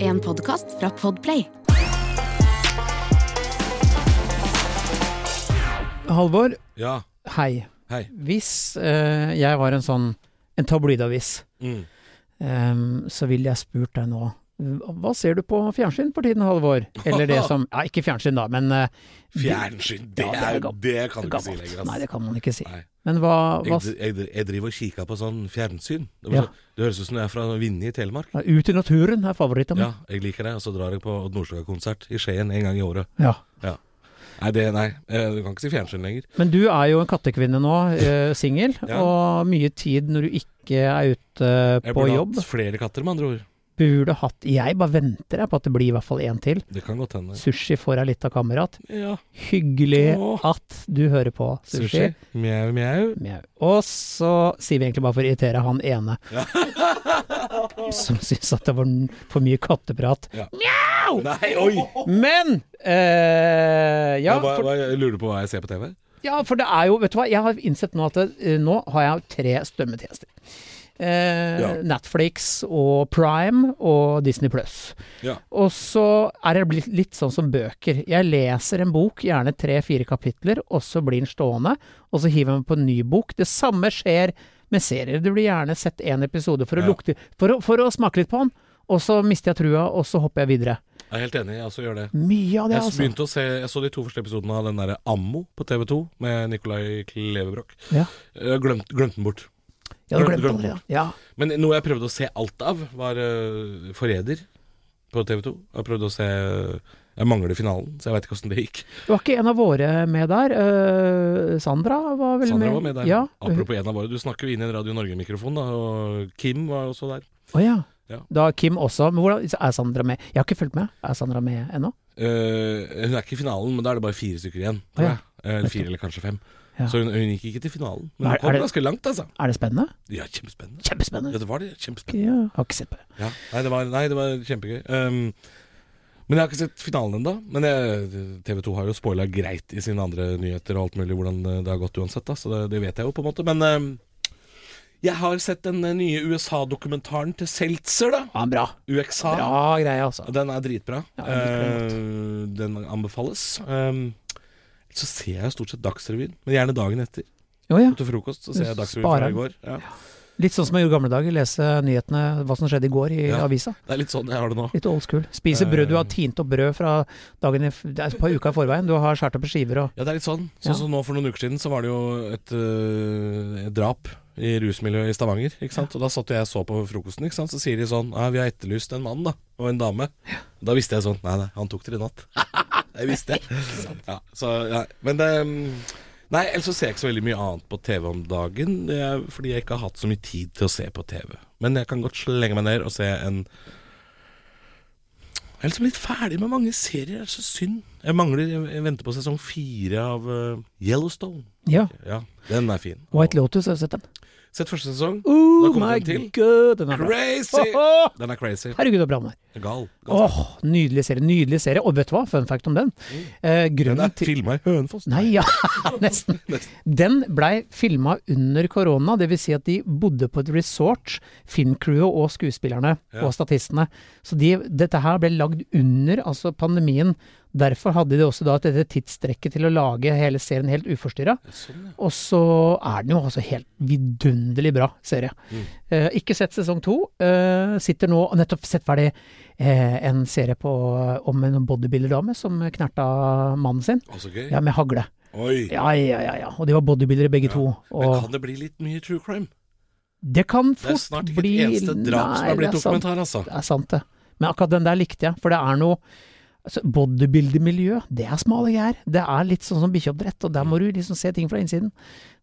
en podkast fra Podplay. Halvor, Ja, hei. hei. Hvis eh, jeg var en sånn en tabloidavis, Mm. ehm, så ville jeg spurt deg nå Hva ser du på fjernsyn for tiden, Halvor? Eller det som Ja, ikke fjernsyn, da, men eh, Fjernsyn, det, Ja, det er er, gam- det kan du ikke si gammelt. lenger. ass. Nei, det kan man ikke si. Nei. Men hva, hva Jeg, jeg, jeg driver og kikker på sånn fjernsyn. Det, var Ja. så- det høres ut som jeg er fra Vinje i Telemark. Ut i naturen er favoritten min. Ja, jeg liker det. Og så drar jeg på Odd Nordstoga-konsert i Skien en gang i året. Ja. Ja. Nei, det, nei, eh, du kan ikke si fjernsyn lenger. Men du er jo en kattekvinne nå, eh, singel, Ja. og mye tid når du ikke er ute Jeg på burde jobb. hatt flere katter, med andre ord. Burde hatt Jeg bare venter jeg på at det blir i hvert fall én til. Det kan godt hende. Sushi får jeg litt av kamerat. Ja. Hyggelig Åh. at du hører på, sushi. Sushi. Mjau, mjau. Mjau. Og så sier vi egentlig bare for å irritere han ene som syns at det var n- for mye katteprat. Nei, oi! Men eh, ja, Jeg bare- for, bare- jeg lurer på hva jeg ser på TV? ja, for det er jo Vet du hva, jeg har innsett nå at det, eh, nå har jeg tre strømmetjenester. Eh, Ja. Netflix og Prime og Disney Plus. Ja. Og så er det blitt litt sånn som bøker. Jeg leser en bok, gjerne tre-fire kapitler, og så blir den stående, og så hiver jeg meg på en ny bok. Det samme skjer med serier. Du blir gjerne sett én episode for å, Ja. lukte, for, å, for å smake litt på den, og så mister jeg trua, og så hopper jeg videre. Jeg er helt enig, jeg også gjør det. Mye av det, Jeg altså. begynte å se Jeg så de to første episodene av den derre Ammo på TV2 med Nicolai Klevebrok. Ja. Jeg glemte glemt den bort. Jeg hadde Glem- glemt glem det. Ja. Men noe jeg prøvde å se alt av, var eh, Forræder på TV2. Jeg prøvde å se eh, Jeg mangler finalen, så jeg veit ikke åssen det gikk. Det var ikke en av våre med der. Eh, Sandra var vel Sandra med? var med der. Ja. Apropos en av våre. Du snakker jo inn i en Radio Norge-mikrofon, da. Og Kim var også der. Å ja. Ja. Da Kim også. Men hvordan, er Sandra med? Jeg har ikke fulgt med. Er Sandra med ennå? Eh, hun er ikke i finalen, men da er det bare fire stykker igjen. Å ja. Eh, Eller fire, eller kanskje fem. Ja. Så hun, hun gikk ikke til finalen. Er- Men hun er kom det- ganske langt, altså. Er det spennende? Ja, kjempespennende. Ja, Kjempespennende. det var det. Kjempespennende. Ja. Har ikke sett på det. Ja. Nei, det var, nei, det var kjempegøy. Um, men jeg har ikke sett finalen ennå. Men jeg- TV 2 har jo spoila greit i sine andre nyheter og alt mulig hvordan det har gått uansett, da. Så det, det vet jeg jo, på en måte. Men um, jeg har sett den eh, nye USA-dokumentaren til Seltzer, da. Ja, bra. UXA. Bra greie, altså. Den er dritbra. Ja, jeg liker Eh, den anbefales. Um, så ser jeg jo stort sett Dagsrevyen, men gjerne dagen etter. Jo, ja. Til frokost så ser jeg Du Dagsrevyen fra sparer. i går. Ja. Litt sånn som jeg gjorde i gamle dager. Lese nyhetene, hva som skjedde i går i Ja. avisa. Det er litt sånn jeg har det nå. Litt old school. Spise brød. Du har tint opp brød fra dagen i, det er et par uker i forveien. Du har skåret opp i skiver og Ja, det er litt sånn. Ja. Sånn som nå for noen uker siden, så var det jo et, øh, et drap i rusmiljøet i Stavanger. ikke sant? Og da satt jeg og så på frokosten, ikke sant? så sier de sånn «Nei, Vi har etterlyst en mann da, og en dame. Da visste jeg sånn Nei, nei, han tok dere i natt. det visste jeg. ja, så, ja. Men det mm, Nei, ellers så ser jeg ikke så veldig mye annet på TV om dagen. Det er fordi jeg ikke har hatt så mye tid til å se på TV. Men jeg kan godt slenge meg ned og se en jeg er liksom litt ferdig med mange serier. Det er så synd. Jeg mangler Jeg jeg venter på sesong fire av eh, Yellowstone. Ja. Ja, den er fin. White Lotus, har du sett den? Sett første sesong. Oh Da kommer my den til. god, den er bra. Crazy! Åh, Den er crazy. Herregud, så bra den er. Gal. Gal. Åh, nydelig serie. Nydelig serie. Og vet du hva, fun fact om den. Eh, Mm. Den grunnen er til filma i Hønefoss. Nei, ja, nesten. Den blei filma under korona, dvs. Si at de bodde på et resort, filmcrewet og skuespillerne og statistene. Så de, dette her ble lagd under altså pandemien. Derfor hadde de også da dette tidsstrekket til å lage hele serien helt uforstyrra. Sånn, ja. Og så er den jo altså helt vidunderlig bra serie. Eh, ikke sett sesong to. Eh, sitter nå og nettopp sett ferdig eh, en serie på, om en bodybuilderdame som knerta mannen sin. Å, så gøy. Ja, med hagle. Oi. Ja, ja, ja, ja. Og de var bodybuildere begge to. Men Og kan det bli litt mye true crime? det kan Det er fort snart ikke bli et eneste drap som Nei, er blitt det sant. dokumentar, altså. Det er sant, det. Men akkurat den der likte jeg, for det er noe altså, Bodybuildermiljø, det er smale greier. Det er litt sånn som bikkjeoppdrett, og der må du liksom se ting fra innsiden.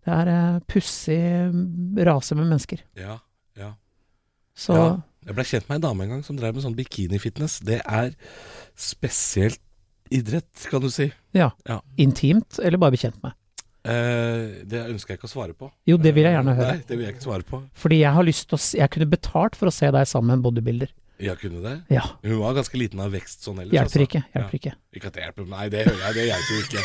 Det er uh, pussig mm, rase med mennesker. Ja, ja. Så Ja. Jeg ble kjent med ei dame en gang som drev med sånn bikinifitness. Det er spesielt idrett, kan du si. ja. Ja. Intimt, eller bare bekjent med. Eh, det ønsker jeg ikke å svare på. Eh, Jo, det vil jeg gjerne høre. Nei, det vil jeg ikke svare på. Fordi jeg har lyst til å s- Jeg kunne betalt for å se deg sammen med en bodybuilder. Jeg kunne det. Ja. Hun var ganske liten av vekst sånn ellers. Hjelper altså. ikke. Hjelper ikke. sånn, Ja. Ikke at det hjelper, nei det hører jeg, det hjelper jo ikke.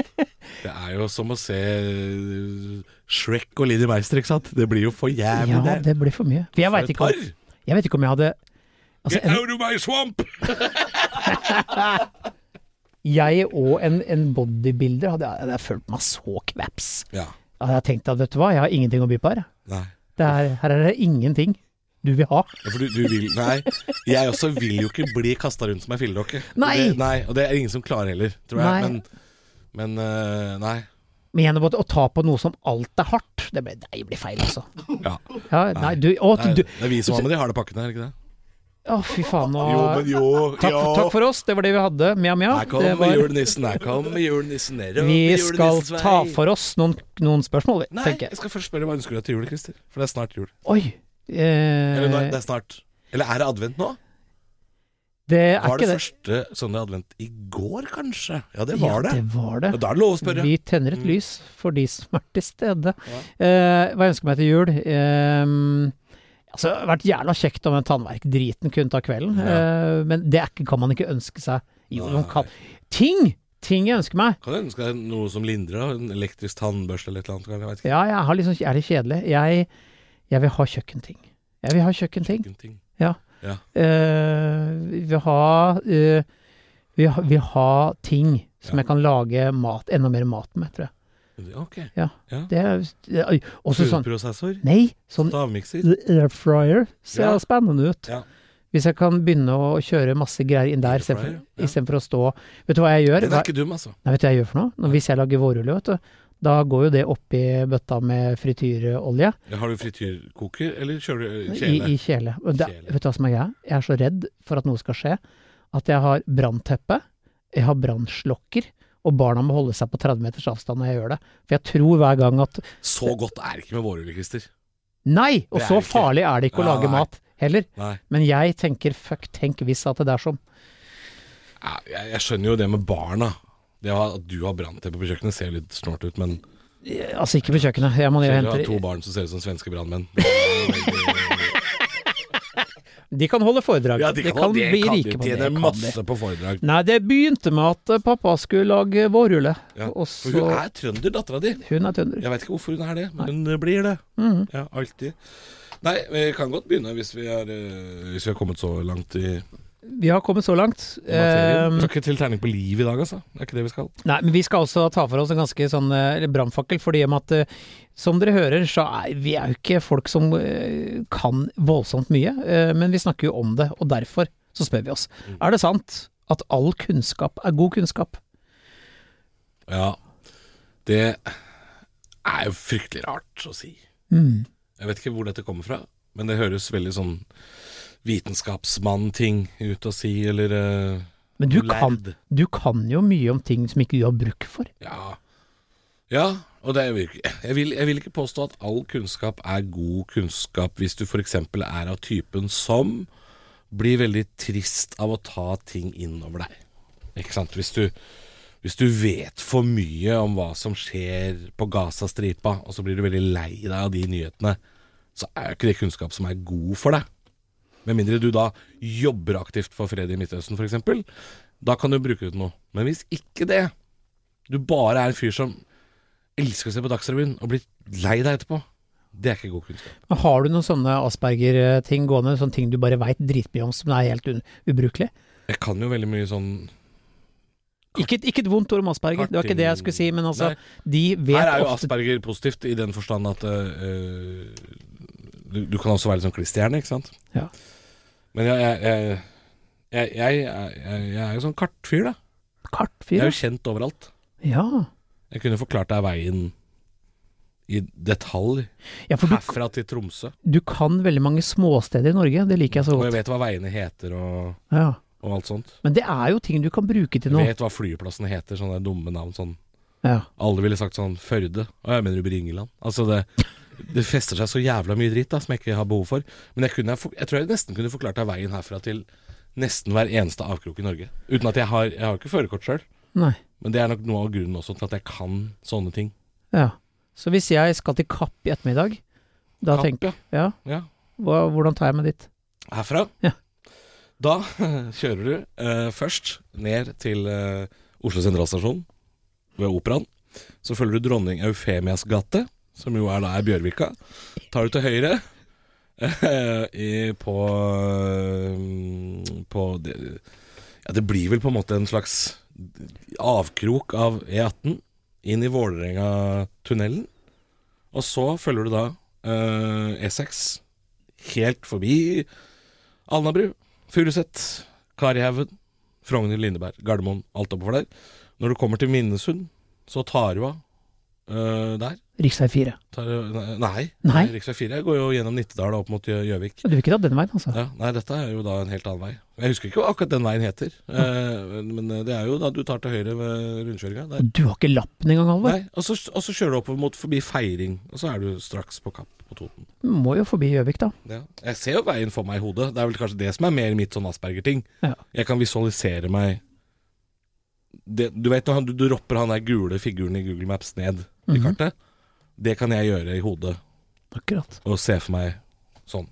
Det er jo som å se øh, Shrek og Linni Meister, ikke sant? Det blir jo for jævlig Ja, det. det blir for mye. For jeg For veit et ikke, om- par! jeg vet ikke om jeg hadde Altså, Get en, out of my swamp! jeg og en, en bodybuilder hadde, hadde jeg følt meg så kvaps. Ja. Da hadde jeg tenkt at vet du hva, jeg har ingenting å by på her. jeg. Nei. Det er, her er det ingenting du vil ha. Ja, For du, du vil Nei. Jeg også vil jo ikke bli kasta rundt som ei filledokke. Nei. Det, nei! Og det er ingen som klarer heller, tror Nei. jeg. Men, men eh, nei. Men gjennom å ta på noe som alt er hardt, det blir, nei, det blir feil, altså. Ja. Ja, nei, du, å, Nei, du, det er vi som har med de harde pakkene, er det ikke det? å fy faen. Nå, Jo, men jo, Ah, takk, jo. takk for oss, det var det vi hadde. Mjau, mjau. Her Det kommer var- julenissen, her kommer julenissen nedover Vi skal julenissens vei. ta for oss noen, noen spørsmål, vi, Nei, tenker jeg jeg. skal først spørre hva ønsker du deg til jul, Christer? For det er snart jul. Oi. Eller nå- Eh, det er snart Eller er det advent nå? det er Var det, ikke det. første søndag i advent i går, kanskje? Ja, det Ja, var det. det var det. Ja, Da er det lov å spørre. Vi tenner et lys for de som er til stede. Eh, hva jeg ønsker meg til jul? Eh, altså, det hadde vært jævla kjekt om den tannverkdriten kunne ta kvelden, eh, men det er ikke, kan man ikke ønske seg. Jo, man kan Ting! Ting jeg ønsker meg. Kan du ønske deg noe som lindrer? da? En elektrisk tannbørste eller et eller annet? Jeg vet ikke. Ja, jeg har liksom, er litt kjedelig. Jeg, jeg vil ha kjøkkenting. Jeg vil ha kjøkkenting. Hvilken ting? Ja. Ja. Eh, vi vil ha eh, vi, ha- vi har ting som jeg kan lage mat, enda mer mat med, tror jeg. Ok. Ja. Ja. Det er, det er- også sånn Pureprosessor? Nei, sånn Stavmikser? air fryer ser Ja. spennende ut. Ja. Hvis jeg kan begynne å kjøre masse greier inn der Airfryer, istedenfor ja. istedenfor å stå Vet du hva jeg gjør? Den Hva, er ikke dum, altså. nei, vet du hva jeg gjør for noe? Når, hvis jeg lager vårrulle, vet du, da går jo det oppi bøtta med frityrolje. Ja, Har du frityrkoker, eller kjører du I, kjele? I kjele. Men Det, Kjele. vet du hva som er greia? Jeg er så redd for at noe skal skje, at jeg har brannteppe, jeg har brannslokker, og barna må holde seg på 30 meters avstand når jeg gjør det. For jeg tror hver gang at Så godt er det ikke med vårrulle, Christer. Nei! Og Det er så det ikke. farlig er det ikke å Ja, lage nei. mat heller. Nei. Men jeg tenker fuck, tenk hvis at det er som Ja, Jeg, jeg skjønner jo det med barna. Det å ha- At du har brannteppe på kjøkkenet ser litt snålt ut, men Altså, ikke på kjøkkenet. Jeg må ned og selv du har hente to barn som ser ut som svenske brannmenn. Det er jo veldig- De kan holde foredrag. Ja, de kan, de bli kan rike de på det. tjene kan de. masse på foredrag. Nei, det begynte med at eh, pappa skulle lage vårrulle, Ja. og For så hun er trønder, dattera di. Hun er tønder. Jeg veit ikke hvorfor hun er det, men hun eh, blir det. Mhm. Ja, alltid. Nei, vi kan godt begynne hvis vi er, eh, hvis vi har kommet så langt i Vi har kommet så langt. materien. Eh, Vi skal ikke til terning på liv i dag, altså. Det er ikke det vi skal. Nei, men vi skal også ta for oss en ganske sånn eh, brannfakkel, fordi om at eh, som dere hører, så er vi er jo ikke folk som eh, kan voldsomt mye, eh, men vi snakker jo om det, og derfor så spør vi oss. Mm. Er det sant at all kunnskap er god kunnskap? Ja. Det er jo fryktelig rart å si. Mm. Jeg vet ikke hvor dette kommer fra, men det høres veldig sånn vitenskapsmann-ting ut å si, eller eh, Men du Og kan, lærd. du kan jo mye om ting som ikke du har bruk for. Ja. Ja, og det er virkelig jeg vil, jeg vil ikke påstå at all kunnskap er god kunnskap hvis du f.eks. er av typen som blir veldig trist av å ta ting innover deg. Ikke sant? Hvis du, hvis du vet for mye om hva som skjer på Gazastripa, og så blir du veldig lei deg av de nyhetene, så er jo ikke det kunnskap som er god for deg. Med mindre du da jobber aktivt for fred i Midtøsten, f.eks. Da kan du bruke det til noe. Men hvis ikke det, du bare er en fyr som elsker å se på Dagsrevyen og blir lei deg etterpå. Det er ikke god kunnskap. Men har du noen sånne Asperger-ting gående, sånne ting du bare veit dritmye om som er helt un ubrukelig? Jeg kan jo veldig mye sånn Ikke, ikke et vondt ord om Asperger, det var ikke det jeg skulle si, men altså, Nei. de vet Her er jo ofte Asperger positivt i den forstand at øh, du, du kan også være litt sånn klisterhjerne, ikke sant? Ja. Men jeg, jeg, jeg, jeg, jeg, er- jeg, jeg er jo sånn kartfyr, da. Jeg kartfyr. er jo kjent overalt. Ja. Jeg kunne forklart deg veien i detalj ja, for du, herfra til Tromsø. du kan veldig mange småsteder i Norge, det liker jeg så Og jeg godt. vet hva veiene heter og, Ja. og alt sånt. Men det er jo ting du kan bruke til Jeg noe. vet hva flyplassene heter, sånne dumme navn sånn Ja. Alle ville sagt sånn Førde. Og jeg mener du Bringeland. Altså det, det fester seg så jævla mye dritt da, som jeg ikke har behov for. Men jeg, kunne, ha for- jeg tror jeg nesten kunne forklart deg veien herfra til nesten hver eneste avkrok i Norge. Uten at jeg har Jeg har jo ikke førerkort sjøl, Nei. men det er nok noe av grunnen også til at jeg kan sånne ting. Ja. Så hvis jeg skal til Kapp i ettermiddag, da Kapp, tenker jeg ja, Ja. hva, hvordan tar jeg meg dit? Herfra. Ja. Da kjører du eh, først ned til eh, Oslo sentralstasjon ved Operaen. Så følger du Dronning Eufemias gate, som jo er da er Bjørvika. Tar du til høyre eh, i, på eh, og det, ja, det blir vel på en måte en slags avkrok av E18 inn i Vålerenga-tunnelen. Og så følger du da eh, E6 helt forbi Alnabru, Furuset, Karihaugen, Frogner, Lindeberg, Gardermoen, alt oppover der. Når du kommer til Minnesund, så tar du av eh, der. Rv. 4. Tar, du- nei, nei, Nei. Rv. 4 går jo gjennom Nittedal og opp mot Gjø- Gjøvik. Ja, Du vil ikke ta den veien, altså? Ja, nei, dette er jo da en helt annen vei. Jeg husker ikke hva akkurat den veien heter. Eh, men det er jo da du tar til høyre ved rundkjøringa. der. Og du har ikke lappen engang, Halvor? Nei, og så, og så kjører du oppover mot forbi Feiring, og så er du straks på Kapp på Toten. Du Må jo forbi Gjøvik, da. Ja. Jeg ser jo veien for meg i hodet. Det er vel kanskje det som er mer mitt sånn Asperger-ting. Ja. Jeg kan visualisere meg det, Du vet når han, du dropper han der gule figuren i Google Maps ned i Mhm. kartet? Det kan jeg gjøre i hodet, Akkurat. og se for meg sånn.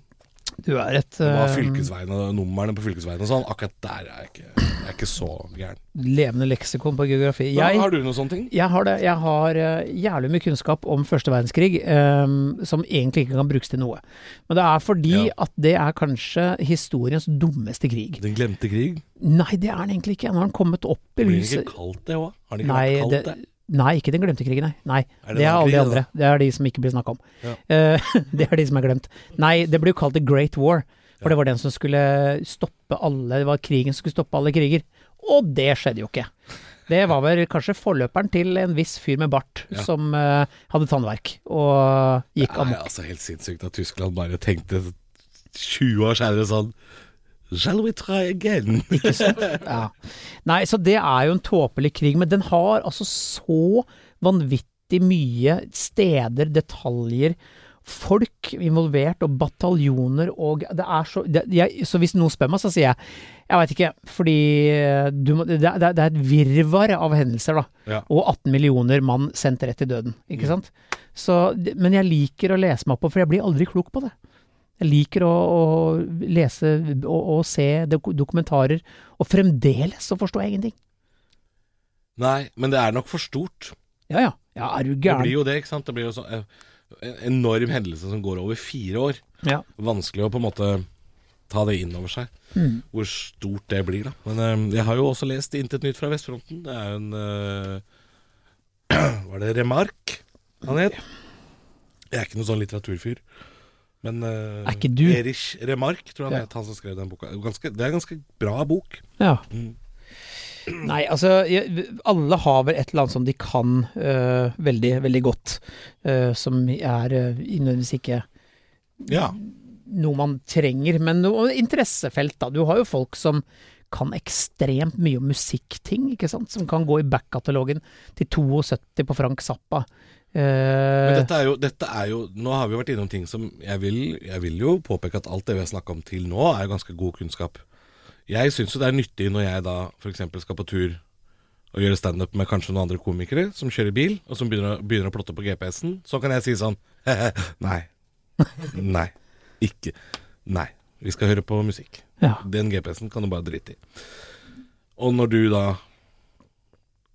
Du er et Hva er eh, fylkesveiene og numrene på fylkesveiene og sånn? Akkurat der er jeg ikke, jeg er ikke så gæren. levende leksikon på geografi. Men Jeg, Har du noen sånne ting? jeg har det. Jeg har eh, jævlig mye kunnskap om første verdenskrig eh, som egentlig ikke kan brukes til noe. Men det er fordi Ja. at det er kanskje historiens dummeste krig. Den glemte krig? Nei, det er den egentlig ikke. Nå har den kommet opp i Blir lyset. det ikke kaldt det òg? Har det ikke Nei, vært det, kaldt det? nei, ikke den glemte krigen, nei. nei Er det, er det den alle de krigen, andre. Det er de som ikke blir snakka om. Ja. Eh, det er de som er glemt. Nei, det ble jo kalt The Great War. For Ja. det var den som skulle stoppe alle Det var krigen som skulle stoppe alle kriger. Og det skjedde jo ikke. Det var vel kanskje forløperen til en viss fyr med bart Ja. som eh, hadde tannverk og gikk Det amok. er altså helt sinnssykt at Tyskland bare tenkte 20 år senere sånn Shall we try again? Ikke sant? Ja. Nei, så det er jo en tåpelig krig, men den har altså så vanvittig mye steder, detaljer, folk involvert og bataljoner og det er så det, jeg, Så hvis noen spør meg, så sier jeg jeg veit ikke, fordi du må, det, er- det, er- det er et virvar av hendelser, da. Ja. Og 18 millioner mann sendt rett til døden, ikke sant. Så, det- men jeg liker å lese meg opp på, for jeg blir aldri klok på det. Jeg liker å, å lese og, og se dok dokumentarer, og fremdeles så forstår jeg ingenting. Nei, men det er nok for stort. Ja ja, ja er du Det gæren? blir jo det, ikke sant? Det blir jo så, eh, en enorm hendelse som går over fire år. Ja. Vanskelig å på en måte ta det inn over seg, Mm. hvor stort det blir, da. Men eh, jeg har jo også lest Intet nytt fra Vestfronten. Det er jo en eh, Var det Remark han het? Jeg er ikke noen sånn litteraturfyr. Men eh, Er ikke du? Erich Remark, tror jeg han Ja. het, han som skrev den boka. Ganske, det er en ganske bra bok. ja. Mm. Nei, altså jeg, Alle har vel et eller annet som de kan øh, veldig, veldig godt, øh, som er øh, nødvendigvis ikke Ja. noe man trenger, men noe interessefelt, da. Du har jo folk som kan ekstremt mye om musikkting, ikke sant, som kan gå i backkatalogen til 72 på Frank Zappa. øh, Men Eh, dette er, jo, dette er jo Nå har vi jo vært innom ting som jeg vil, jeg vil jo påpeke at alt det vi har snakka om til nå, er jo ganske god kunnskap. Jeg syns jo det er nyttig når jeg da f.eks. skal på tur og gjøre standup med kanskje noen andre komikere som kjører bil, og som begynner, å- begynner å plotte på GPS-en. Så kan jeg si sånn Nei. Nei. Ikke. Nei. Vi skal høre på musikk. ja. Den GPS-en kan du bare drite i. Og når du da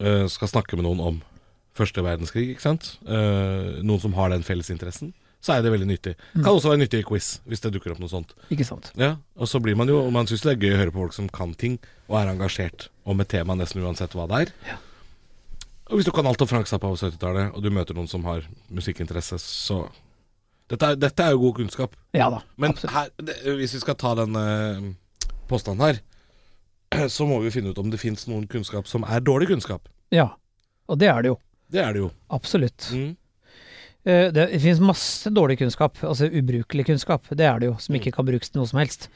eh, skal snakke med noen om første verdenskrig, ikke sant? Eh, noen som har den fellesinteressen, så er det veldig nyttig. Kan også være nyttig i quiz, hvis det dukker opp noe sånt. Ikke sant. Ja, og så blir man jo, og man syns det er gøy å høre på folk som kan ting, og er engasjert om et tema nesten uansett hva det er. Og hvis du kan alt om Frank Zappa på 70-tallet, og du møter noen som har musikkinteresse, så Dette er, dette er jo god kunnskap. Ja da. Men absolutt. her, det, hvis vi skal ta den eh, påstanden her, så må vi finne ut om det fins noen kunnskap som er dårlig kunnskap. Ja. Og det er det jo. Det er det jo. Absolutt. Mm. Eh, Det finnes masse dårlig kunnskap, altså ubrukelig kunnskap, det er det jo, Mm. som ikke kan brukes til noe som helst.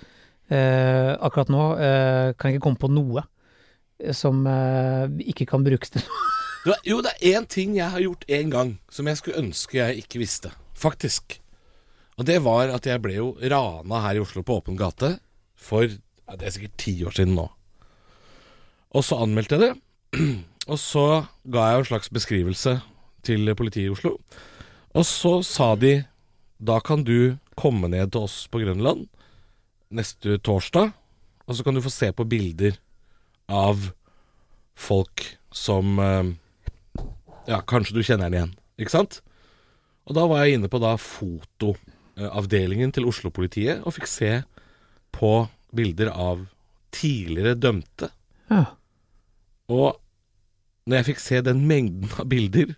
Eh, akkurat nå eh, kan jeg ikke komme på noe eh, som eh, ikke kan brukes til noe. Det var- jo, det er én ting jeg har gjort én gang som jeg skulle ønske jeg ikke visste, faktisk. Og det var at jeg ble jo rana her i Oslo på åpen gate for ja, Det er sikkert ti år siden nå. Og så anmeldte jeg det. Og så ga jeg jo en slags beskrivelse til politiet i Oslo. Og så sa de da kan du komme ned til oss på Grønland neste torsdag, og så kan du få se på bilder av folk som eh, Ja, kanskje du kjenner den igjen, ikke sant? Og da var jeg inne på da eh, fotoavdelingen til Oslo-politiet og fikk se på bilder av tidligere dømte. Ja. Og når jeg fikk se den mengden av bilder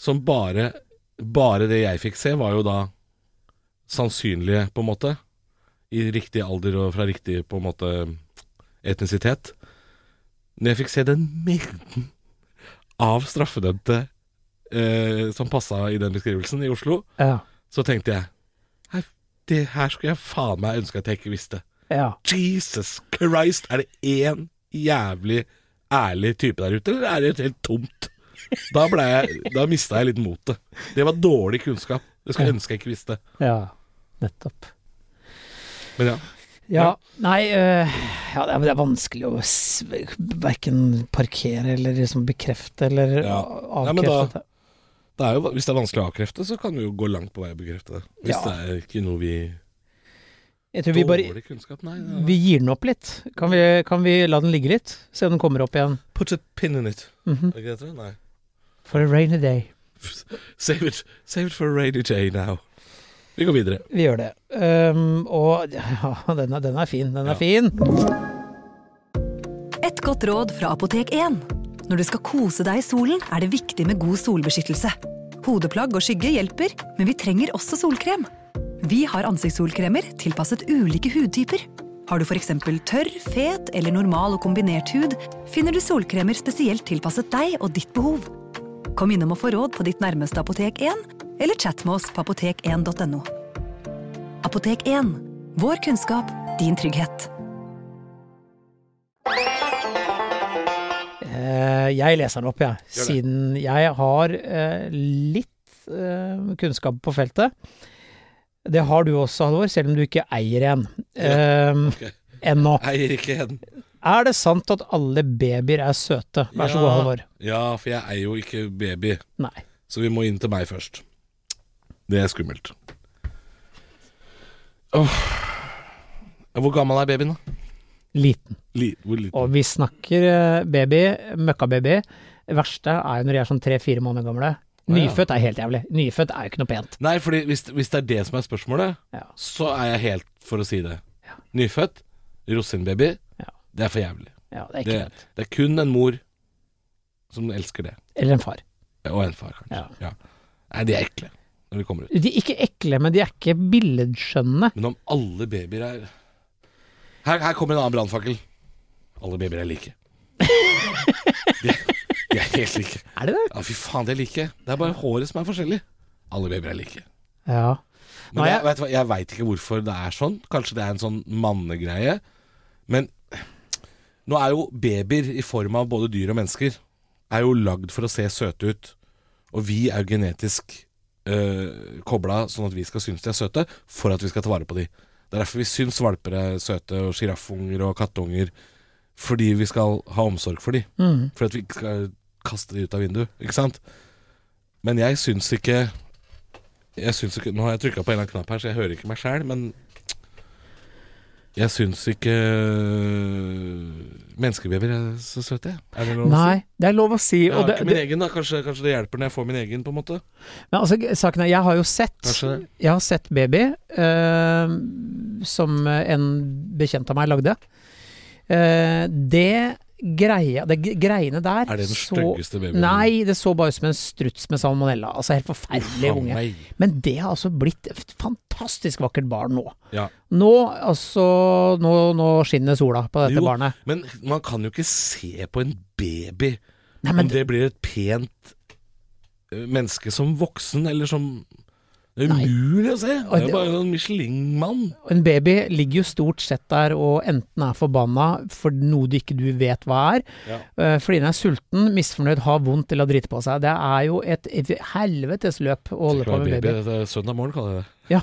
som bare Bare det jeg fikk se, var jo da sannsynlige, på en måte. I riktig alder og fra riktig, på en måte, etnisitet. Når jeg fikk se den mengden av straffedømte eh, som passa i den beskrivelsen i Oslo, Ja. så tenkte jeg Hei, det her skulle jeg faen meg ønske at jeg ikke visste. ja. Jesus Christ, er det én jævlig ærlig type der ute, eller er det helt tomt? Da, ble jeg, da mista jeg litt motet. Det var dårlig kunnskap. Det skulle jeg ønske jeg ikke visste. ja. Nettopp. Men ja. Ja, nei øh, ja, det, er, det er vanskelig å s- verken parkere eller liksom bekrefte eller Ja. a- Nei, men da- avkrefte. Det er jo, hvis det er vanskelig å avkrefte, så kan vi jo gå langt på vei å bekrefte det. Hvis Ja. det er ikke noe vi Jeg tror vi bare Dårlig kunnskap, nei. vi gir den opp litt. Kan vi, kan vi la den ligge litt? Se om den kommer opp igjen. Put a pin in it. Mhm. Er det ikke det? Nei. For a rainy day. Save it, save it for a rainy day now. Vi går videre. Vi gjør det. Ehm, og ja, den er, den er fin. Den er Ja. fin. Et godt råd fra Apotek 1. Når du skal kose deg i solen, er det viktig med god solbeskyttelse. Hodeplagg og skygge hjelper, men vi trenger også solkrem. Vi har ansiktssolkremer tilpasset ulike hudtyper. Har du f.eks. tørr, fet eller normal og kombinert hud, finner du solkremer spesielt tilpasset deg og ditt behov. Kom innom og få råd på ditt nærmeste Apotek 1, eller chat med oss på apotek1.no. Apotek 1 vår kunnskap, din trygghet. Eh, jeg leser den opp, jeg. Gjør det. Siden jeg har eh, litt eh, kunnskap på feltet. Det har du også, Halvor, selv om du ikke eier en. Ehm, ok. Ennå. Eier ikke heden. Er det sant at alle babyer er søte? Vær så god, Ja. Halvor. Ja, for jeg er jo ikke baby. Nei. Så vi må inn til meg først. Det er skummelt. Åh. Hvor gammel er babyen, da? Liten. Li hvor liten? Og vi snakker eh, baby, møkkababy. Det verste er jo når de er sånn tre-fire måneder gamle. Nyfødt er helt jævlig. Nyfødt er jo ikke noe pent. Nei, fordi hvis, hvis det er det som er spørsmålet, Ja. så er jeg helt for å si det. Nyfødt, rosinbaby, Ja. det er for jævlig. Ja, det er ikke Det, pent. det er kun en mor som elsker det. Eller en far. Og en far, kanskje. Ja. Ja. Nei, de er ekle når de kommer ut. De er ikke ekle, men de er ikke billedskjønne. Men om alle babyer er Her, her kommer en annen brannfakkel. Alle babyer er like. De, de er helt like. Er de det? Ja, fy faen, de er like. Det er bare håret som er forskjellig. Alle babyer er like. Ja. Men Nei, jeg, jeg- vet, du hva, jeg vet ikke hvorfor det er sånn. Kanskje det er en sånn mannegreie. Men nå er jo babyer i form av både dyr og mennesker Er jo lagd for å se søte ut. Og vi er jo genetisk øh, kobla sånn at vi skal synes de er søte, for at vi skal ta vare på de. Det er derfor vi syns valper er søte, og sjiraffunger og kattunger. Fordi vi skal ha omsorg for de. Mm. For at vi ikke skal kaste de ut av vinduet, ikke sant? Men jeg syns ikke Jeg syns ikke Nå har jeg trykka på en eller annen knapp her, så jeg hører ikke meg sjæl, men jeg syns ikke menneskebabyer er så søte, jeg. Er det lov å si? Nei, det er lov å si. Jeg Og har det, ikke min det, egen, da. Kanskje, kanskje det hjelper når jeg får min egen, på en måte. men altså, saken er, jeg har jo sett Kanskje det. Jeg har sett baby eh, som en bekjent av meg lagde. Eh, det greia Det g- greiene der Er det den så- styggeste babyen? Nei, det så bare ut som en struts med salmonella. Altså helt forferdelig Faen unge. meg. Men det har altså blitt et fantastisk vakkert barn nå. Ja. Nå, altså Nå, nå skinner sola på dette Jo, barnet. Men man kan jo ikke se på en baby Nei, men om det blir et pent eh, menneske som voksen, eller som Det er Nei. umulig å se! Det Og er det- jo bare en sånn Michelin-mann. En baby ligger jo stort sett der og enten er forbanna for noe du ikke du vet hva er, Ja. eh, fordi den er sulten, misfornøyd, har vondt eller har dritt på seg. Det er jo et helvetes løp å holde på med baby. Det er søndag morgen, kaller jeg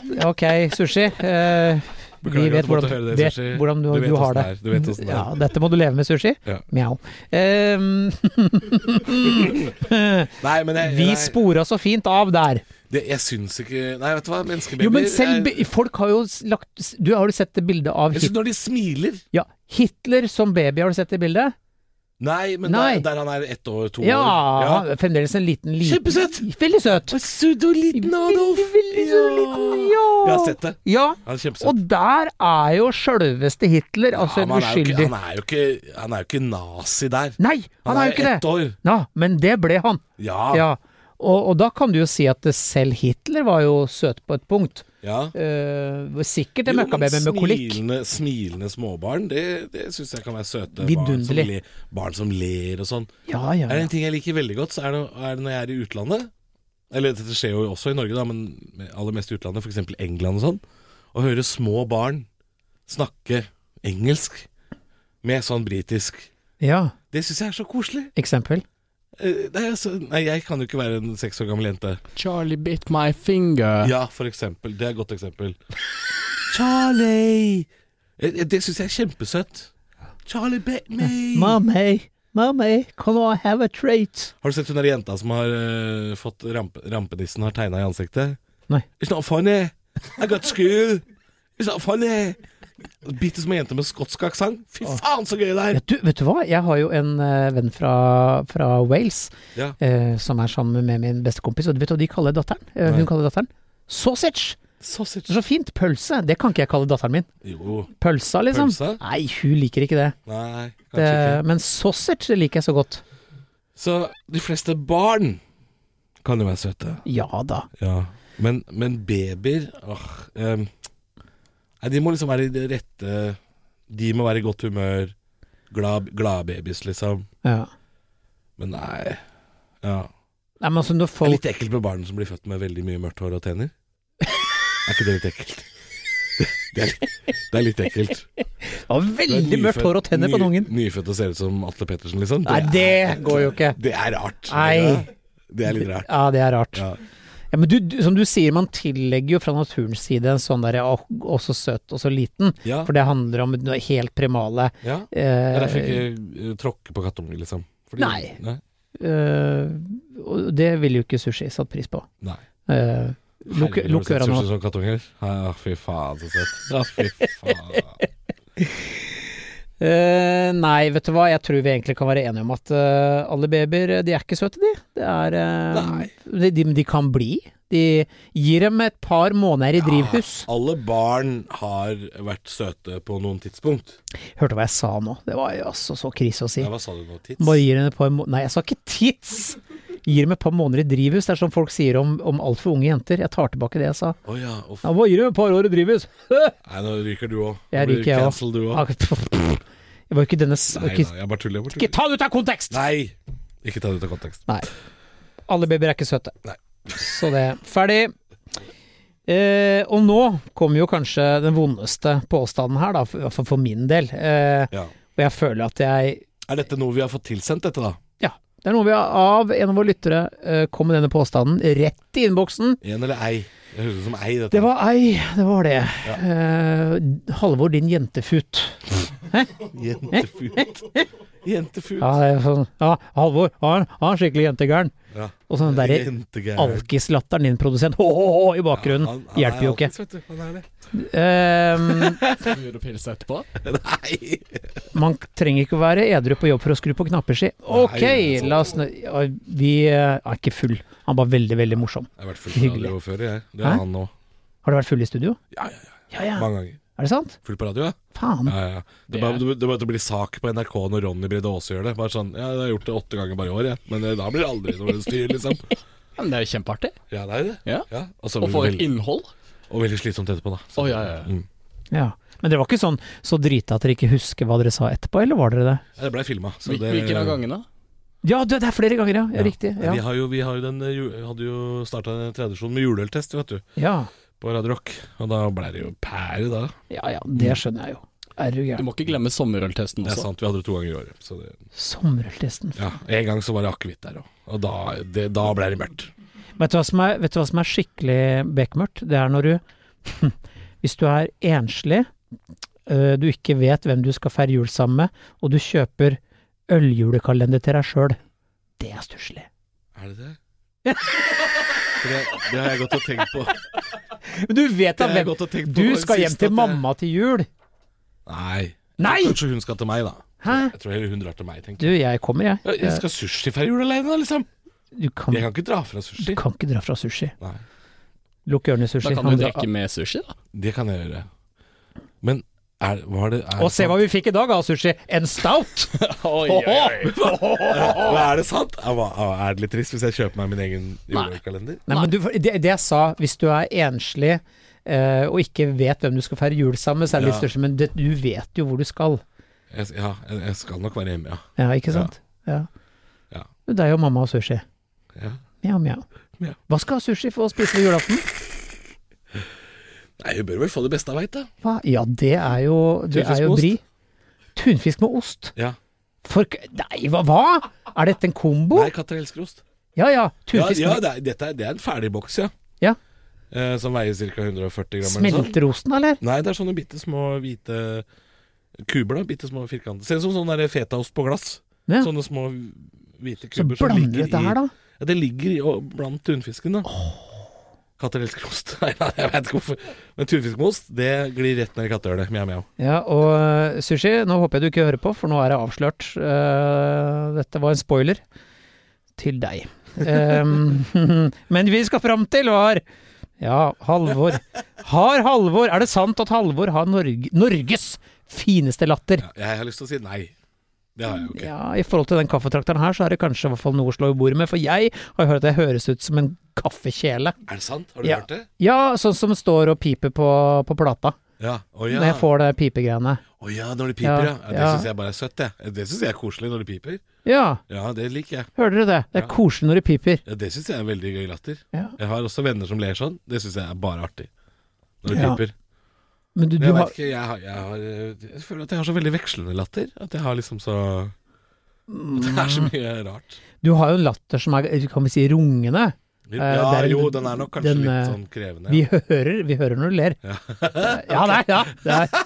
det. Ja. Ok, sushi. eh, vi Beklager vet at du måtte hvordan, høre det, vet sushi. hvordan du, Du vet du har åssen det. det er. Du vet åssen det er. ja, dette må du leve med, sushi. Ja. Mjau. Ehm, Nei, men jeg, vi nei, spora så fint av der. det, jeg syns ikke Nei, vet du hva, menneskebabyer Jo, men selv jeg, be- folk har jo s- lagt s- Du Har du sett det bildet av jeg Hitler? synes Når de smiler Ja, Hitler som baby, har du sett det bildet? Nei, men Nei. Der, der han er ett år, to Ja, år han er fremdeles en liten, liten Kjempesøt! Veldig søt! Pseudoliten Adolf! Veldig, veldig så liten, ja. har sett det. Ja, Han er kjempesøt. og der er jo sjølveste Hitler, altså Ja, en men han, er jo ikke, uskyldig han, er jo ikke, han er jo ikke nazi der. Nei, han er jo ikke ett det! år. Ja, men det ble han. Ja. ja. Ja. Og, og da kan du jo si at selv Hitler var jo søt på et punkt. Eh, sikkert en Jo, men møkkababy med kolikk. Smilende, smilende småbarn, det, det syns jeg kan være søte. Barn som, Vidunderlig. le, barn som ler og sånn. Ja, ja, Er det ja. en ting jeg liker veldig godt, så er det, er det når jeg er i utlandet Eller dette skjer jo også i Norge, da, men aller mest i utlandet, f.eks. England og sånn. Å høre små barn snakke engelsk med sånn britisk ja. Det syns jeg er så koselig. Eksempel. Eh, Det er så, nei, jeg kan jo ikke være en seks år gammel jente. Charlie bit my finger. Ja, for eksempel. Det er et godt eksempel. Charlie! Eh, eh, Det syns jeg er kjempesøtt. Charlie bet me! Mommy, mommy, can I have a treat? Har du sett hun der jenta som har eh, fått ramp rampenissen har tegna i ansiktet? Nei. It's not funny. I got school. It's not funny. Bitte små jenter med skotsk aksent. Fy faen, så gøy det er! Vet du, vet du hva, jeg har jo en eh, venn fra, fra Wales Ja. eh, som er sammen med min bestekompis, og vet du hva de kaller datteren? Eh, Nei. hun kaller datteren sausage! Sausage. Så fint, pølse, det kan ikke jeg kalle datteren min. Jo. Pølsa, liksom. Pølse? Nei, hun liker ikke det. Nei, det kanskje ikke. men sausage det liker jeg så godt. Så de fleste barn kan jo være søte. Ja da. Ja, men, men babyer åh, ehm, Nei, de må liksom være i det rette De må være i godt humør Glad, glad babies liksom Ja. Men nei ja. Nei, men altså når Det er folk litt ekkelt med barn som blir født med veldig mye mørkt hår og tenner Er ikke det litt ekkelt? Det er litt, det er litt ekkelt har veldig mørkt hår og tenner på den ungen. Nyfødt og ser ut som Atle Pettersen liksom Nei, det går jo ikke. Det er rart Nei. Ja, Det er litt rart Ja, det er rart. Ja. Ja. men du, du, som du sier, man tillegger jo fra naturens side en sånn derre «Åh, å, så søt og så liten, Ja, for det handler om noe helt primale ja. Det eh, er derfor jeg ikke eh, tråkker på kattungen liksom Fordi- Nei. Nei, eh, Og det ville jo ikke sushi satt pris på. nei. Eh, lukk Herregud, lukk har du øra sett nå. sushi som kattunger? Ja, fy faen, så søtt. Ja, fy faen. Eh, nei, vet du hva, jeg tror vi egentlig kan være enige om at eh, alle babyer, de er ikke søte, de. Det er eh, Nei. de, de, de kan bli. De gir dem et par måneder i drivhus. Alle barn har vært søte på noen tidspunkt. Hørte hva jeg sa nå? Det var jo altså så krise å si. Ja, hva sa du nå? Tits? Bare gir henne et par må- Nei, jeg sa ikke tits! Gir dem et par måneder i drivhus. Det er som folk sier om, om altfor unge jenter. Jeg tar tilbake det jeg sa. Å ja, uff. Ja, bare gir dem et par år i drivhus! Nei, nå ryker du òg. Jeg ryker, jeg Cancel du òg. Ah, pff. Jeg var jo ikke denne s- Nei ikke, da, jeg bare tuller. Jeg ikke bare tuller. ta det ut av kontekst! Nei! Ikke ta det ut av kontekst. Nei. Alle babyer er ikke søte. Nei. Så det. Ferdig. Eh, og nå kommer jo kanskje den vondeste påstanden her, da, for- i hvert fall for min del. Eh, Ja. og jeg føler at jeg Er dette noe vi har fått tilsendt, dette da? Ja. Det er noe vi har av en av våre lyttere eh, kom med denne påstanden rett i innboksen. En eller ei? Det høres ut som ei, dette. Det var ei, det var det. Ja. Eh, Halvor, din jentefut. Jentefut. Jentefut. Ja, det er sånn, ja Halvor, han ja, han er skikkelig jentegæren. Ja. Og sånn derre Jentegæren. alkislatteren din, produsent, hå, hå, hå, i bakgrunnen. Han- han er Hjelper jo ikke. alkis, vet du. Han er det. Ehm, Snur du pils etterpå? Nei! man trenger ikke å være edru på jobb for å skru på knapper, si. Ok, Nei, altså. la oss nå ja, Vi eh, er ikke full. Han var veldig, veldig morsom. Jeg har vært full på Hyggelig. radio før, jeg. Det Hæ? er han nå. Har du vært full i studio? Ja, ja, ja. Ja ja. Mange ganger. Er det sant? Full på radio, ja? Faen. Ja, ja. Det, Det bare, er- det, bare- det blir sak på NRK når Ronny Brede Aase gjør det. Bare sånn, ja, jeg har gjort det åtte ganger bare i år, jeg. Men eh, da blir det aldri noe styr, liksom. Ja, men det er jo kjempeartig. Ja, det er jo det. Ja. Ja, og, så Og blir for det et veldig, innhold. og veldig slitsomt etterpå, da. Så- Å, ja, ja, ja. Mm. Ja. Men dere var ikke sånn så drita at dere ikke husker hva dere sa etterpå, eller var dere det? Ja, Det blei filma. Hvil- Hvilken av gangene? Ja, det det er flere ganger, ja. ja. Riktig. Vi, Ja. har jo, vi har jo den, eh, ju- hadde jo starta en tradisjon med juleøltest, vet du. Ja. På Radio Rock. Og da blei det jo pære, da. ja ja, det skjønner jeg jo. Er du Du Mm. gæren. må ikke glemme sommerøltesten Det er også. sant, vi hadde det to ganger i året. Så det, Sommerøltesten. ja. En gang så var det akevitt der òg. Og da, det, da blei det mørkt. Vet, du hva som er- vet du hva som er skikkelig bekmørkt? Det er når du Hvis du er enslig, øh, du ikke vet hvem du skal feire jul sammen med, og du kjøper øljulekalender til deg sjøl. Det er stusslig. Er det det? For det, det har jeg gått og tenkt på. Men du vet Det da har jeg hvem gått og tenkt på Du det skal hjem siste til at jeg- mamma til jul! Nei. Nei! Kanskje hun skal til meg, da. Hæ? Jeg tror heller hun drar til meg, tenker jeg. Du, jeg kommer, jeg. Jeg skal ha sushi før jul alene, da, liksom. Du kan, Jeg kan ikke dra fra sushi. du kan ikke dra fra sushi. Nei. Lukk ørene, Da sushi. kan du drikke med sushi, da. Det kan jeg gjøre. Men er, var det er Og det se hva sant? vi fikk i dag av sushi! En stout! Oi, Men Er det sant? Er, hva- er det litt trist hvis jeg kjøper meg min egen julekalender? Nei, men du, det, det jeg sa, hvis du er enslig eh, og ikke vet hvem du skal feire jul sammen med, så er det litt Ja. større, men det, du vet jo hvor du skal. Jeg, ja, jeg jeg skal nok være hjemme, ja. Ja, ikke sant? Ja. Ja. Det er jo mamma og sushi. ja. Mjau, mjau. Mjau. Hva skal sushi få å spise ved julaften? Nei, hun bør vel få det beste av veit, da. Hva? Ja, det er jo, det Tunfisk er jo med ost. bri. Tunfisk med ost? Ja. For, nei, hva, hva? Er dette en kombo? Nei, katter elsker ost. Ja ja, Ja, tunfisk ja med det, er, dette er, det er en ferdig boks, ja. Ja. Eh, som veier ca. 140 gram. eller noe sånt. Smelterosten, eller? Nei, det er sånne bitte små hvite kuber, da. Bitte små firkanter. Ser ut som sånn der fetaost på glass. Ja. Sånne små hvite Så kuber som blander ligger dette i her, da. Ja, det ligger i, og, blant tunfisken, da. Katter elsker ost. Nei, nei, jeg veit ikke hvorfor. Men tunfisk med ost, det glir rett ned i kattehølet. Mjau, mjau. Ja, og eh, Sushi, nå håper jeg du ikke hører på, for nå er det avslørt. Eh, dette var en spoiler til deg. Ehm, men vi skal fram til var Ja, Halvor. Har Halvor Er det sant at Halvor har Norge, Norges fineste latter? Ja, jeg har lyst til å si nei. Det har jeg jo ikke. Ja, I forhold til den kaffetrakteren her, så er det kanskje i hvert fall noe å slå i bordet med, for jeg har hørt at jeg høres ut som en kaffekjele. Er det sant? Har du Ja. hørt det? Ja, sånn som står og piper på, på plata, Ja. Å når ja. jeg får det pipegreiene. Å ja, når de piper, ja. Ja, ja. Det ja. syns jeg bare er søtt, jeg. Det syns jeg er koselig når de piper. Ja, Ja, det liker jeg. hører dere det? Det er Ja. koselig når det piper. Ja, det syns jeg er veldig gøy latter. Ja. Jeg har også venner som ler sånn. Det syns jeg er bare artig. Når de Ja. piper. Men du, Men du jeg har vet ikke, jeg, har, jeg, har, jeg føler at jeg har så veldig vekslende latter. At jeg har liksom så Mm. At det er så mye rart. Du har jo en latter som er, kan vi si, rungende. Ja, Eh, det er en- jo, den er nok kanskje den, litt eh, sånn krevende. Vi hører, vi hører når du ler. Ja, det er, ja, det er,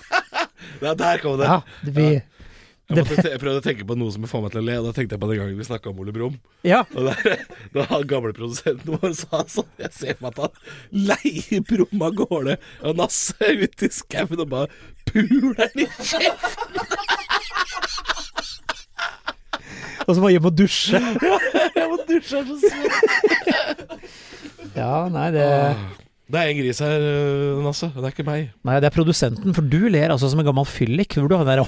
Ja, der kom det! ja, det- vi, jeg, måtte, te- jeg prøvde å tenke på noe som får meg til å le, og da tenkte jeg på den gangen vi snakka om Ole Brumm. ja, Og der, Da han gamle produsenten vår sa sånn Jeg ser for meg at han leier Brumm av gårde og Nasse ut i skauen og bare puler den i kjeften! og så må jeg hjem og dusje. Jeg må dusje, jeg er så svett. Ja, nei, det, Det er en gris her, eh, Nasse. Det er ikke meg. nei, det er produsenten, for du ler altså som en gammel fyllik. Hvor du har den der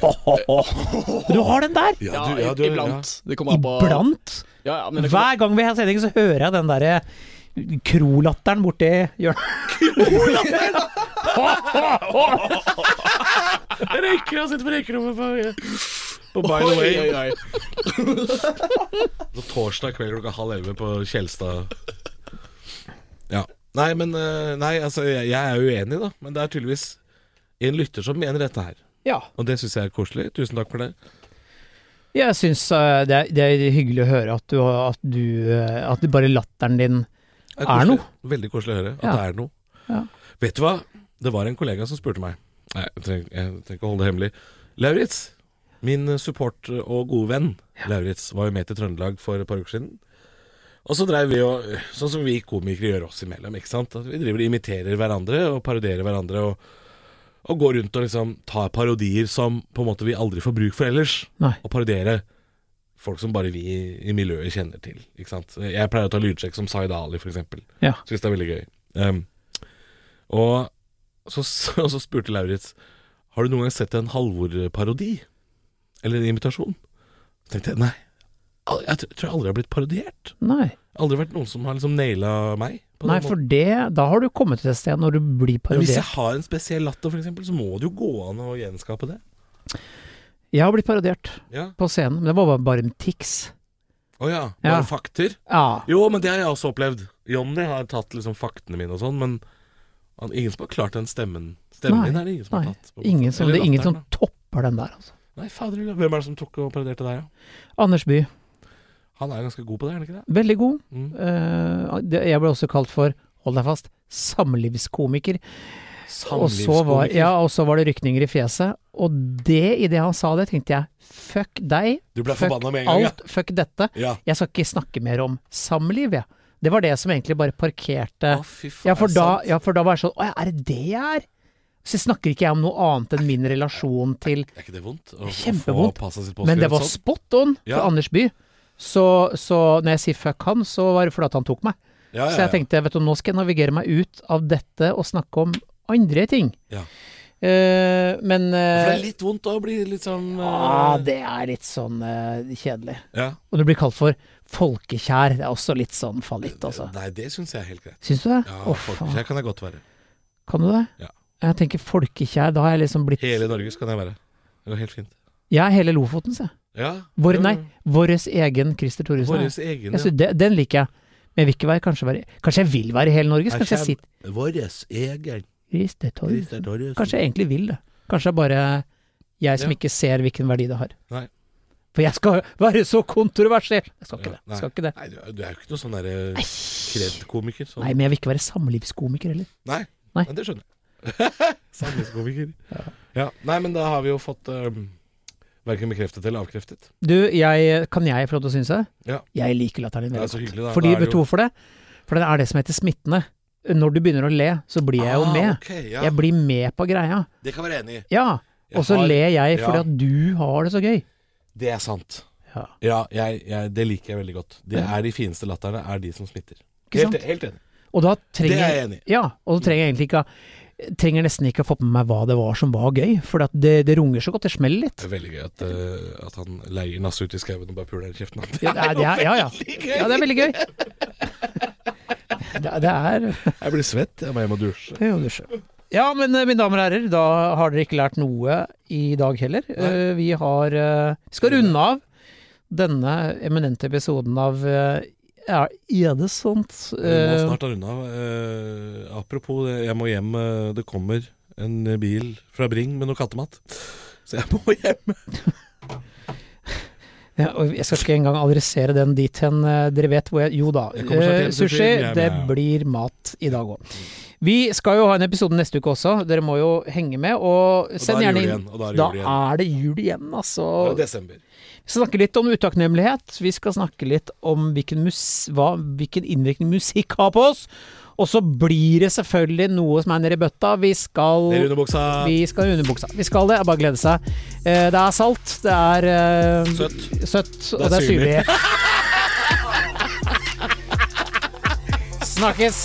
Du har den der! Ja, du- du- iblant. Det kommer an på Iblant. Ja, ja, men det kommer Hver gang vi har sending, så hører jeg den derre krolatteren borti hjørnet. ja. Jeg røyker, jeg sitter på røykerommet på, på By Oi, the Way. oi, oi. Så torsdag kveld klokka halv elleve på Kjelstad. Ja. Nei, men eh, Nei, altså, jeg, jeg er uenig, da. Men det er tydeligvis en lytter som mener dette her. Ja. Og det syns jeg er koselig. Tusen takk for det. Jeg syns eh, det, er- det er hyggelig å høre at du, har- at du eh, At det bare latteren din Det Er koselig. noe. Veldig koselig å høre at Ja. det er noe. Ja. Vet du hva? Det var en kollega som spurte meg Nei, jeg trenger, jeg trenger ikke å holde det hemmelig. Lauritz, min support og gode venn Lauritz, var jo med til Trøndelag for et par uker siden. Og så dreiv vi og Sånn som vi komikere gjør oss imellom, ikke sant. At vi driver og imiterer hverandre og parodierer hverandre og, og går rundt og liksom tar parodier som på en måte vi aldri får bruk for ellers Nei. og parodiere folk som bare vi i miljøet kjenner til. Ikke sant? Jeg pleier å ta lydsjekk som Zaid Ali, f.eks. Ja. Syns det er veldig gøy. Um, og så, så, så spurte Lauritz Har du noen gang sett en Halvor-parodi. Eller en imitasjon. Så tenkte jeg nei. al- Jeg tr- tror jeg aldri har blitt parodiert. Nei. Aldri vært noen som har liksom naila meg. på den Nei, måten. for det Da har du kommet til et sted når du blir Men hvis jeg parodiert. har en spesiell latter, f.eks., så må det jo gå an å gjenskape det. Jeg har blitt parodiert Ja. på scenen, men det var bare- bare en tics. Å ja. Bare Ja. fakter. Ja. Jo, men det har jeg også opplevd. Jonny har tatt liksom faktene mine og sånn, men han, ingen som har klart den stemmen. Stemmen Nei, min er det ingen som nei. har tatt. på en måte. Ingen som, Eller det er ingen latteren, som topper den der, altså. da. Nei, fader, hvem er det som tok og parodierte deg, da? Anders Bye, Han er ganske god på det, er han ikke det? veldig god. Mm. Eh, det- jeg ble også kalt for, hold deg fast, samlivskomiker. Og så var, Samlivskomiker. ja, og så var det rykninger i fjeset. Og det, idet han sa det, tenkte jeg fuck deg, Du ble fuck forbanna med en gang, alt, fuck dette. ja. ja. Jeg skal ikke snakke mer om samliv, jeg. Det var det som egentlig bare parkerte Å, fy faen, Eh, Ja, for er det da, sant? ja, for da var jeg sånn Å ja, er det det jeg er? Så snakker ikke jeg om noe annet enn min relasjon til Er ikke det vondt? Å, å Kjempevondt. få passet sitt Men det påskrevet var sånn? spot on for Ja. Anders Bye. Så, så når jeg sier fuck han, så var det fordi at han tok meg. Ja, ja, Så jeg ja. tenkte vet du, nå skal jeg navigere meg ut av dette og snakke om andre ting. Ja. Eh, men For det eh, er litt vondt å bli litt sånn eh, ah, det er litt sånn eh, kjedelig. ja. Og du blir kalt for folkekjær. Det er også litt sånn fallitt, altså. Nei, det syns jeg er helt greit. Syns du det? Ja, Å, faen. Folkekjær kan jeg godt være. Kan du det? Ja. Jeg tenker folkekjær, da har jeg liksom blitt Hele Norges kan jeg være. Det går helt fint. Jeg er hele Lofoten, sier jeg. Ja. Vår, Jo, nei, jo. vår egen Christer Thoresen. Våres egen, Jeg synes det- den liker jeg. Men jeg vil ikke være, kanskje, være, kanskje jeg vil være i hele Norge? så Kanskje jeg sitter ja. Våres egen Christer Thoresen. Torjussen. Kanskje jeg egentlig vil det. Kanskje det er bare jeg som Ja. ikke ser hvilken verdi det har. Nei. For jeg skal være så kontroversiell! Jeg skal ikke Ja, det. nei. Jeg skal ikke det. Nei, du er- du er jo ikke noe sånn derre kredkomiker. Sånn. Nei, men jeg vil ikke være samlivskomiker heller. Nei. Nei. Men det skjønner jeg. Samlingskomiker. Ja. Nei, men da har vi jo fått um, verken bekreftet eller avkreftet. Du, jeg, kan jeg få lov til å synse? Ja. Jeg liker latteren din Det er veldig så godt. hyggelig, da. Fordi, Da er det vet du jo- hvorfor det? For den er det som heter smittende. Når du begynner å le, så blir jeg jo Ah, med. ok, ja. Jeg blir med på greia. Det kan jeg være enig i. Ja. Jeg Og så har- ler jeg fordi ja. at du har det så gøy. Det er sant. Ja. Ja, jeg, jeg, det liker jeg veldig godt. Det er de fineste latterne, er de som smitter. Ikke sant? Helt, e-, helt enig. Og da trenger Det er jeg enig i. Ja, og da trenger jeg egentlig ikke ha- Trenger nesten ikke ha fått med meg hva det var som var gøy, for at det, det runger så godt, det smeller litt. Det er veldig gøy at, eh, at han leier Nasse ut i skauen og bare puler den i kjeften. Det Ja, det er, det er, ja, ja. gøy. ja, det er veldig gøy. Det, er- det er Jeg blir svett, jeg må hjem og dusje. Det er jo dusje. Ja, men eh, mine damer og herrer, da har dere ikke lært noe i dag heller. Eh, vi har eh, vi skal runde av denne eminente episoden av eh, Er, er det sånt? Vi må Eh, snart runde av. Eh, apropos, det, jeg må hjem. eh, Det kommer en bil fra Bring med noe kattemat. Så jeg må hjem. ja, og jeg skal ikke engang adressere den dit hen. eh, Dere vet hvor jeg Jo da, Jeg kommer snart eh, hjem, så sushi. sier jeg, Det ja. blir mat i dag òg. Vi skal jo ha en episode neste uke også. Dere må jo henge med. Og da send er gjerne jul inn. igjen, og da er det Da jul igjen. er det jul igjen, altså. Det er Desember. Vi skal snakke litt om utakknemlighet. Vi skal snakke litt om hvilken, mus hva, hvilken innvirkning musikk har på oss. Og så blir det selvfølgelig noe som er nedi bøtta. Vi skal Ned under buksa. vi skal under buksa. Vi skal det, er bare å glede seg. Eh, Det er salt, det er eh, Søtt. søtt, er og det er syrlig. syrlig. Snakkes!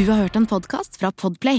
Du har hørt en podcast fra Podplay